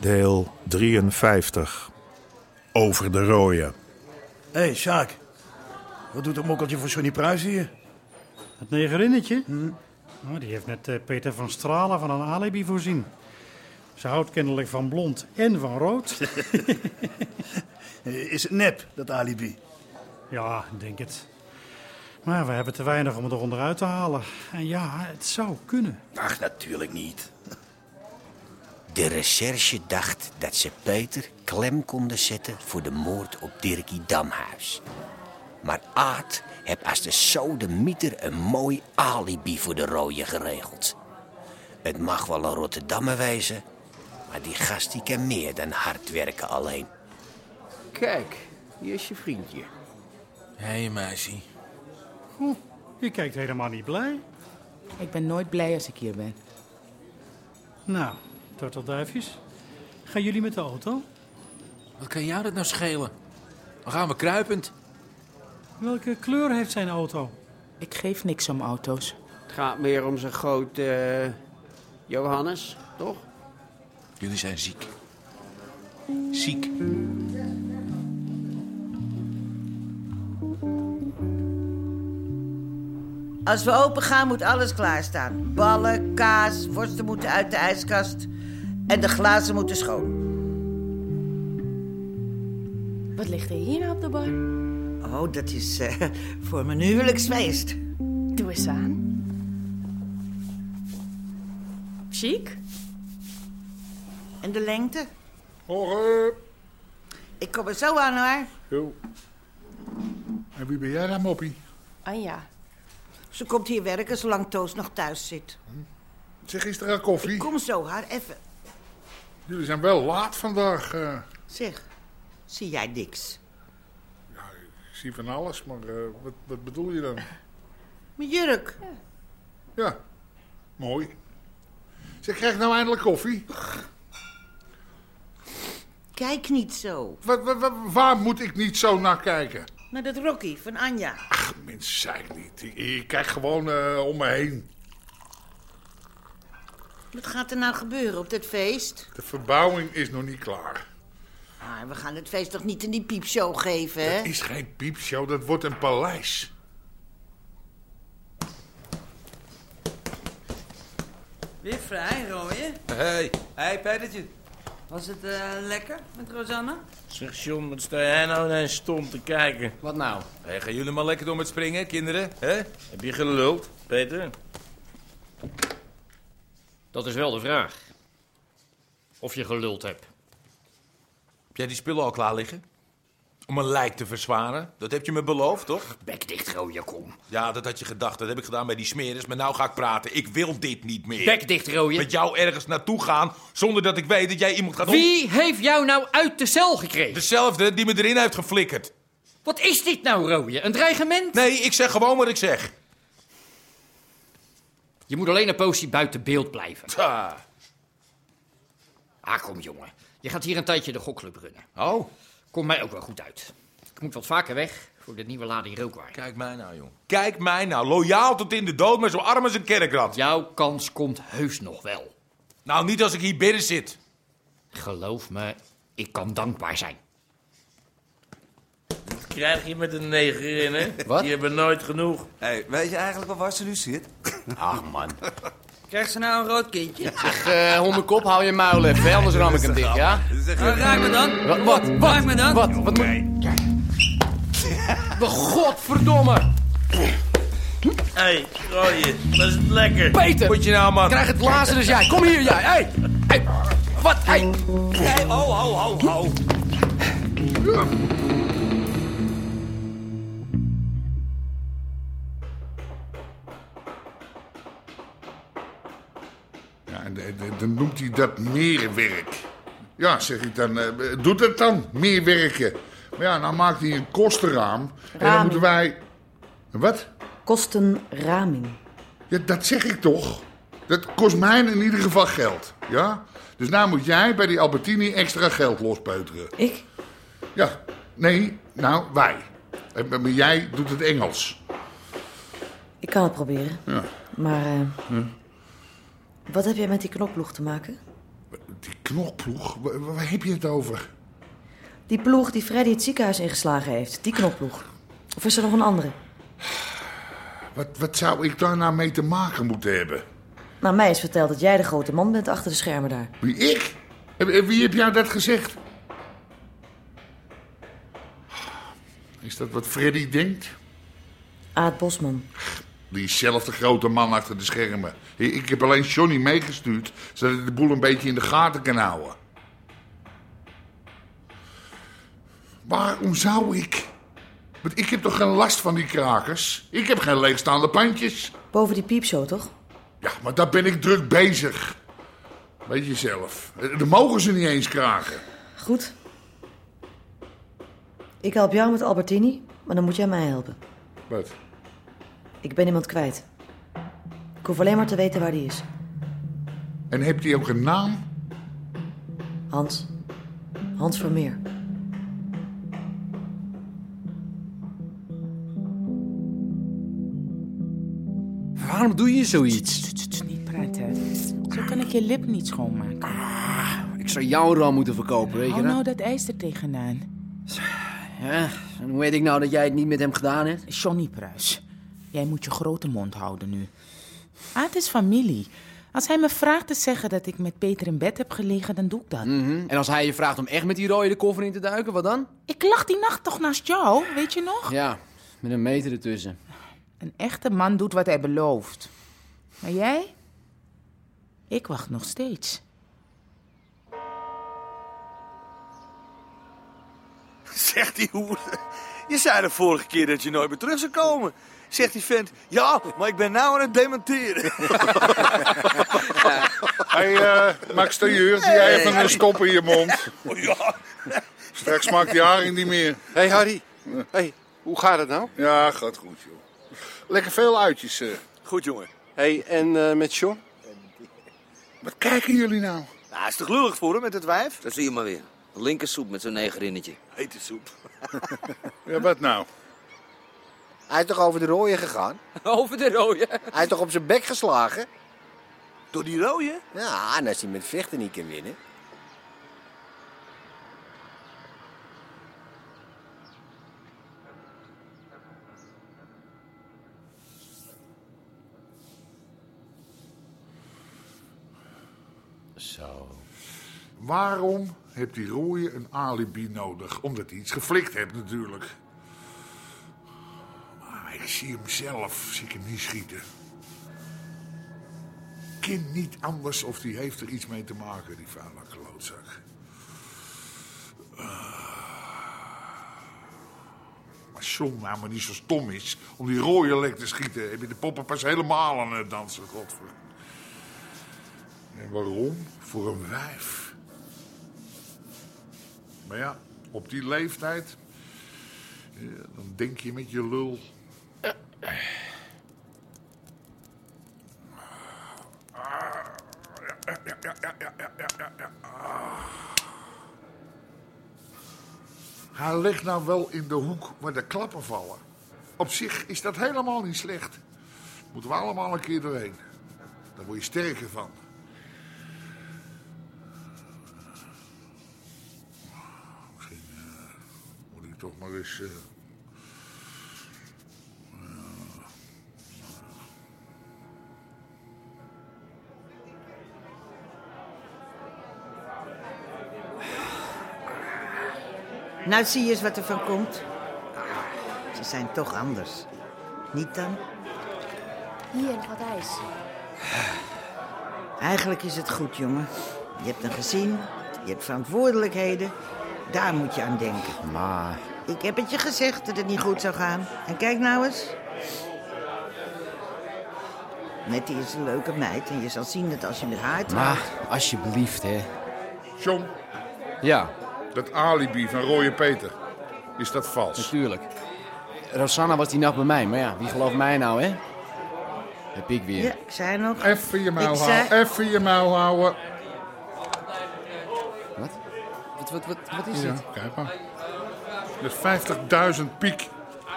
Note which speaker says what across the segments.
Speaker 1: Deel 53. Over de rooien.
Speaker 2: Hé, hey, Sjaak. Wat doet dat mokkeltje voor Johnny Pruis hier?
Speaker 3: Het negerinnetje? Nou, die heeft net eh, Peter van Stralen van een alibi voorzien. Ze houdt kennelijk van blond en van rood.
Speaker 2: Eh, Is het nep, dat alibi?
Speaker 3: ja, ik denk het. Maar we hebben te weinig om het eronder uit te halen. En ja, het zou kunnen.
Speaker 2: Ach, natuurlijk niet.
Speaker 4: De recherche dacht dat ze Peter klem konden zetten voor de moord op Dirkie Damhuis. Maar Aad heb als de sodemieter een mooi alibi voor de rooie geregeld. Het mag wel een Rotterdammer wezen, maar die gast die kan meer dan hard werken alleen.
Speaker 5: Kijk, hier is je vriendje.
Speaker 6: Hé hey, meisje,
Speaker 3: Oeh, je kijkt helemaal niet blij.
Speaker 7: Ik ben nooit blij als ik hier ben.
Speaker 3: Nou, tortelduifjes. Gaan jullie met de auto?
Speaker 6: wat kan jou dat nou schelen? Dan gaan we kruipend.
Speaker 3: Welke kleur heeft zijn auto?
Speaker 7: Ik geef niks om auto's.
Speaker 5: Het gaat meer om zijn groot eh, Johannes, toch?
Speaker 6: Jullie zijn ziek. Ziek.
Speaker 8: Als we open gaan moet alles klaarstaan. Ballen, kaas, worsten moeten uit de ijskast. En de glazen moeten schoon.
Speaker 9: Wat ligt er hier nou op de bar?
Speaker 8: Oh, dat is eh, voor mijn huwelijksfeest.
Speaker 9: Doe eens aan. Chic?
Speaker 8: En de lengte? Horen. Ik kom er zo aan hoor.
Speaker 10: En wie ben jij dan, Moppie?
Speaker 9: Anja.
Speaker 8: Ze komt hier werken zolang Toos nog thuis zit.
Speaker 10: Zeg, is er al koffie?
Speaker 8: Kom zo, haar even.
Speaker 10: Jullie zijn wel laat vandaag. eh.
Speaker 8: Zeg, zie jij niks?
Speaker 10: ik zie van alles, maar eh, wat, wat bedoel je dan?
Speaker 8: Mijn jurk.
Speaker 10: Ja, mooi. Zeg, krijg ik nou eindelijk koffie?
Speaker 8: Kijk niet zo.
Speaker 10: Wa- wa- wa- waar moet ik niet zo naar kijken?
Speaker 8: Naar dat Rocky van Anja.
Speaker 10: Ach, mensen, zei ik niet. Ik, ik kijk gewoon eh, om me heen.
Speaker 8: Wat gaat er nou gebeuren op dit feest?
Speaker 10: De verbouwing is nog niet klaar.
Speaker 8: Maar we gaan het feest toch niet in die piepshow geven,
Speaker 10: Het
Speaker 8: hè?
Speaker 10: is geen piepshow, dat wordt een paleis.
Speaker 11: Weer vrij, rooien.
Speaker 4: Hey.
Speaker 11: Hey, Petertje. Was het eh, lekker met Rosanne?
Speaker 6: Zeg John, wat sta jij nou ineens stom te kijken?
Speaker 5: Wat nou?
Speaker 6: Hey, gaan jullie maar lekker door met springen, kinderen? hè?
Speaker 4: Heb je geluld, Peter?
Speaker 12: Dat is wel de vraag. Of je geluld hebt.
Speaker 6: Heb jij die spullen al klaar liggen? Om een lijk te verzwaren? Dat heb je me beloofd, toch?
Speaker 5: Bek dicht, rooie, kom.
Speaker 6: Ja, dat had je gedacht. Dat heb ik gedaan bij die smeres. Maar nou ga ik praten. Ik wil dit niet meer.
Speaker 12: Bek dicht, rooien.
Speaker 6: Met jou ergens naartoe gaan zonder dat ik weet dat jij iemand gaat... om-
Speaker 12: Wie heeft jou nou uit de cel gekregen?
Speaker 6: Dezelfde die me erin heeft geflikkerd.
Speaker 12: Wat is dit nou, rooien? Een dreigement?
Speaker 6: Nee, ik zeg gewoon wat ik zeg.
Speaker 12: Je moet alleen een poosje buiten beeld blijven.
Speaker 6: Ta.
Speaker 12: Ah, kom jongen. Je gaat hier een tijdje de gokclub runnen.
Speaker 6: Oh,
Speaker 12: Komt mij ook wel goed uit. Ik moet wat vaker weg voor de nieuwe lading rookwaren.
Speaker 6: kijk mij nou, jong. Kijk mij nou. Loyaal tot in de dood, maar zo arm als een kerkrat.
Speaker 12: Jouw kans komt heus nog wel.
Speaker 6: Nou, niet als ik hier binnen zit.
Speaker 12: Geloof me, ik kan dankbaar zijn.
Speaker 4: Krijg je met een neger in, hè?
Speaker 12: Wat?
Speaker 4: Die hebben nooit genoeg.
Speaker 11: Hé, weet je eigenlijk wel waar ze nu zit?
Speaker 4: Ach, man.
Speaker 11: Krijgt ze nou een rood kindje?
Speaker 5: Eh, hondenkop, hou je muil even, anders ram ik hem dicht, ja?
Speaker 11: Nou, raak me dan.
Speaker 5: Wat? Wat?
Speaker 11: Raak me dan.
Speaker 5: Wat? Wat moet... Godverdomme!
Speaker 4: Hé, hey, rooie, dat is lekker.
Speaker 5: Peter!
Speaker 6: Moet je nou, man?
Speaker 5: Krijg het lazer als jij. Kom hier, jij. Hey! Hey! Wat? Hey!
Speaker 6: Hey, ho, ho, ho, ho.
Speaker 10: en de- de- dan noemt hij dat meerwerk. Ja, zeg ik dan, eh, doe dat dan, meerwerken. Maar ja, dan maakt hij een kostenraam. En dan
Speaker 13: Raming.
Speaker 10: moeten wij... Wat?
Speaker 13: Kostenraming.
Speaker 10: Ja, dat zeg ik toch. Dat kost mij in ieder geval geld, ja? Dus nou moet jij bij die Albertini extra geld lospeuteren.
Speaker 13: Ik?
Speaker 10: Ja, nee, nou, wij. En- Maar jij doet het Engels.
Speaker 13: Ik kan het proberen.
Speaker 10: Ja.
Speaker 13: Maar eh,
Speaker 10: Hm.
Speaker 13: wat heb jij met die knopploeg te maken?
Speaker 10: Die knokploeg, wa- wa- waar heb je het over?
Speaker 13: Die ploeg die Freddy het ziekenhuis ingeslagen heeft. Die knopploeg. Of is er nog een andere?
Speaker 10: Wat, wat zou ik daar nou mee te maken moeten hebben?
Speaker 13: Nou, mij is verteld dat jij de grote man bent achter de schermen daar.
Speaker 10: Wie, ik? En- en Wie heb jou dat gezegd? Is dat wat Freddy denkt?
Speaker 13: Aad Bosman.
Speaker 10: Die is zelf de grote man achter de schermen. Ik ik heb alleen Johnny meegestuurd, zodat hij de boel een beetje in de gaten kan houden. Waarom zou ik? Want ik heb toch geen last van die krakers? Ik heb geen leegstaande pandjes.
Speaker 13: Boven die piepshow, toch?
Speaker 10: Ja, maar daar ben ik druk bezig. Weet je zelf. Eh, Dan mogen ze niet eens kraken.
Speaker 13: Goed. Ik help jou met Albertini, maar dan moet jij mij helpen.
Speaker 10: Wat?
Speaker 13: Ik ben iemand kwijt. Ik hoef alleen maar te weten waar die is.
Speaker 10: En heeft hij ook een naam?
Speaker 13: Hans. Hans Vermeer.
Speaker 14: Waarom doe je zoiets?
Speaker 7: Niet praten. Zo kan ik je lip niet schoonmaken.
Speaker 14: Ik zou jouw ram moeten verkopen, weet je
Speaker 7: Hou
Speaker 14: dat?
Speaker 7: nou dat ijs er tegenaan.
Speaker 14: Ja, en hoe weet ik nou dat jij het niet met hem gedaan hebt?
Speaker 7: Johnny Pruis, jij moet je grote mond houden nu. Aad is familie. Als hij me vraagt te zeggen dat ik met Peter in bed heb gelegen, dan doe ik dat.
Speaker 14: En als hij je vraagt om echt met die rode de koffer in te duiken, wat dan?
Speaker 7: Ik lag die nacht toch naast jou, weet je nog?
Speaker 14: Ja, Nou, met een meter ertussen.
Speaker 7: Een echte man doet wat hij belooft. Maar jij? Ik wacht nog steeds.
Speaker 15: Zegt die hoer. Je zei de vorige keer dat je nooit meer terug zou komen. Zegt die vent, ja, maar ik ben nou aan het dementeren.
Speaker 10: Hé, hey, eh, Max de Jeur, doe jij even een stop in je mond.
Speaker 15: ja.
Speaker 10: Straks maakt die haring niet meer. Hé, hey, Harry. hey, hoe gaat het nou? Ja, gaat goed, joh. Lekker veel uitjes. eh.
Speaker 15: Goed, jongen.
Speaker 16: hey, en eh, met John?
Speaker 10: Wat kijken jullie nou?
Speaker 15: Nou, is toch lullig voor hem met het wijf?
Speaker 17: Dat zie je maar weer. Linkersoep met zo'n negerinnetje.
Speaker 15: Hete soep.
Speaker 10: Ja, wat nou?
Speaker 16: Hij is toch over de rooien gegaan?
Speaker 12: Over de rode.
Speaker 16: Hij is toch op zijn bek geslagen?
Speaker 15: Door die rooien?
Speaker 16: Ja, en als hij met vechten niet kan winnen.
Speaker 10: Zo. Waarom heeft die rooie een alibi nodig? Omdat hij iets geflikt heeft, natuurlijk. Maar ik zie hem zelf, zie ik hem niet schieten. Kind niet anders of die heeft er iets mee te maken, die vuile klootzak. Ah. Maar John nou maar niet zo stom is om die rooie lek te schieten. Heb je de poppen pas helemaal aan het dansen, godver. En waarom? Voor een wijf. Maar ja, op die leeftijd. eh, dan denk je met je lul. Hij ligt nou wel in de hoek waar de klappen vallen. Op zich is dat helemaal niet slecht. Moeten we allemaal een keer doorheen. Daar word je sterker van. Misschien eh, moet ik toch maar eens. eh,
Speaker 8: Nou, zie je eens wat er van komt. Ah, Ze zijn toch anders. Niet dan?
Speaker 18: Hier, nog wat ijs.
Speaker 8: Ah, Eigenlijk is het goed, jongen. Je hebt een gezin, je hebt verantwoordelijkheden. Daar moet je aan denken.
Speaker 14: Maar...
Speaker 8: Ik heb het je gezegd dat het niet goed zou gaan. En kijk nou eens. Nettie is een leuke meid en je zal zien dat als je met haar
Speaker 12: Maar,
Speaker 8: trouwt...
Speaker 12: alsjeblieft, hè.
Speaker 10: John,
Speaker 12: Ja,
Speaker 10: dat alibi van Rooie Peter, is dat vals?
Speaker 12: natuurlijk. Rosanna was die nacht bij mij, maar ja, wie gelooft mij nou, hè? Heb ik weer.
Speaker 8: Ja, ik zei nog...
Speaker 10: Even je mouw
Speaker 8: Ik zei-
Speaker 10: houden, even je mouw houden.
Speaker 12: Wat, wat, wat, wat is
Speaker 10: Ja,
Speaker 12: dit?
Speaker 10: kijk maar. Dat is 50.000 piek.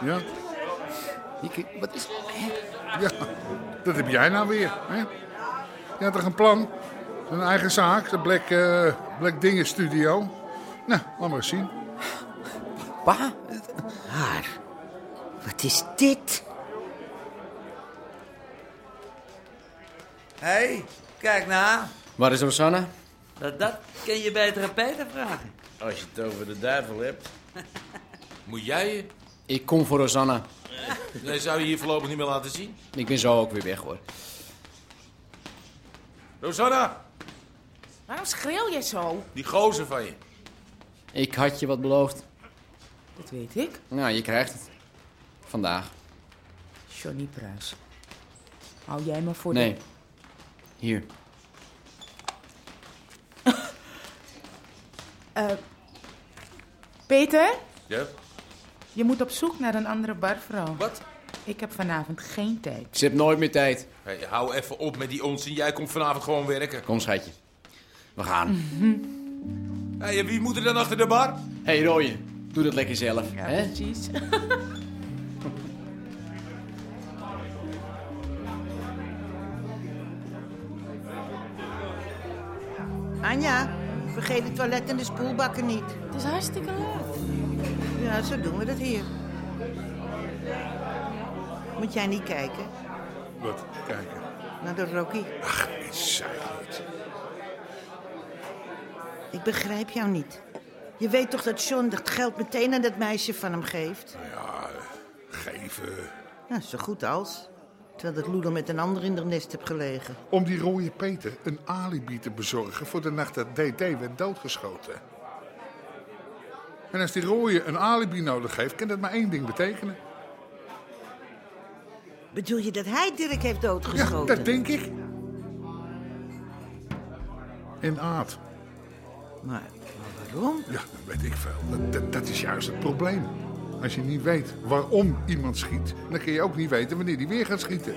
Speaker 10: Ja?
Speaker 12: wat is...
Speaker 10: Ja, dat heb jij nou weer. Hè? Je had toch een plan? Een eigen zaak, de Black, eh, Black Dingen Studio. Nou, laat maar eens zien.
Speaker 12: Pa?
Speaker 8: Haar. Wat is dit?
Speaker 11: Hé, hey, kijk nou.
Speaker 12: Waar is Rosanna?
Speaker 11: Dat, dat kun je beter aan Peter vragen.
Speaker 12: Als je het over de duivel hebt. Moet jij je? Ik kom voor Rosanna.
Speaker 6: Nee, zou je hier voorlopig niet meer laten zien.
Speaker 12: Ik ben zo ook weer weg, hoor.
Speaker 6: Rosanna,
Speaker 7: Waarom schreeuw je zo?
Speaker 6: die gozer van je.
Speaker 12: Ik had je wat beloofd.
Speaker 7: Dat weet ik.
Speaker 12: Nou, je krijgt het. Vandaag.
Speaker 7: Johnny Pruis. Hou jij me voor
Speaker 12: Nee.
Speaker 7: de...
Speaker 12: Hier.
Speaker 7: Eh, Peter,
Speaker 6: Ja?
Speaker 7: je moet op zoek naar een andere barvrouw. Wat? Ik heb vanavond geen tijd.
Speaker 12: Ze heeft nooit meer tijd.
Speaker 6: Hey, hou even op met die onzin. Jij komt vanavond gewoon werken.
Speaker 12: Kom, schatje. We gaan.
Speaker 6: Hey, en wie moet er dan achter de bar?
Speaker 12: Hé, hey, Rooie. Doe dat lekker zelf.
Speaker 7: Ja,
Speaker 12: hè?
Speaker 7: precies.
Speaker 8: Anja, vergeet het toilet en de spoelbakken niet.
Speaker 9: Het is hartstikke laat.
Speaker 8: Ja, zo doen we dat hier. Moet jij niet kijken
Speaker 10: Wat? Kijken.
Speaker 8: naar de Rocky?
Speaker 10: Ach, ik zei het.
Speaker 8: Ik begrijp jou niet. Je weet toch dat John dat geld meteen aan dat meisje van hem geeft?
Speaker 10: Nou ja, eh, geven.
Speaker 8: Nou, zo goed als. Terwijl dat loeder met een ander in de nest heb gelegen.
Speaker 10: Om die Rooie Peter een alibi te bezorgen voor de nacht dat DD werd doodgeschoten. En als die Rooie een alibi nodig heeft, kan dat maar één ding betekenen.
Speaker 8: Bedoel je dat hij Dirk heeft doodgeschoten?
Speaker 10: Ja, dat denk ik. En Aad.
Speaker 8: Maar waarom?
Speaker 10: Ja, dat weet ik veel. Dat, dat, dat is juist het probleem. Als je niet weet waarom iemand schiet, dan kun je ook niet weten wanneer die weer gaat schieten.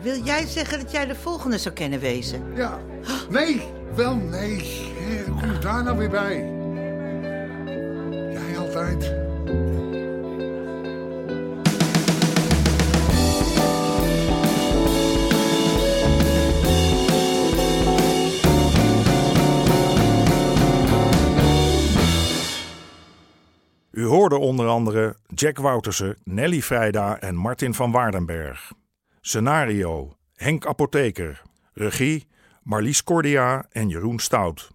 Speaker 8: Wil jij zeggen dat jij de volgende zou kennen wezen?
Speaker 10: Ja. Nee, wel nee. Hè, Hoe kom je daar nou weer bij? Jij altijd.
Speaker 1: U hoorde onder andere Jack Woutersen, Nelly Vrijda en Martin van Waardenberg. Scenario: Henk Apotheker. Regie: Marlies Cordia en Jeroen Stout.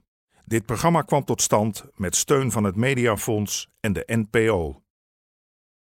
Speaker 1: Dit programma kwam tot stand met steun van het Mediafonds en de NPO.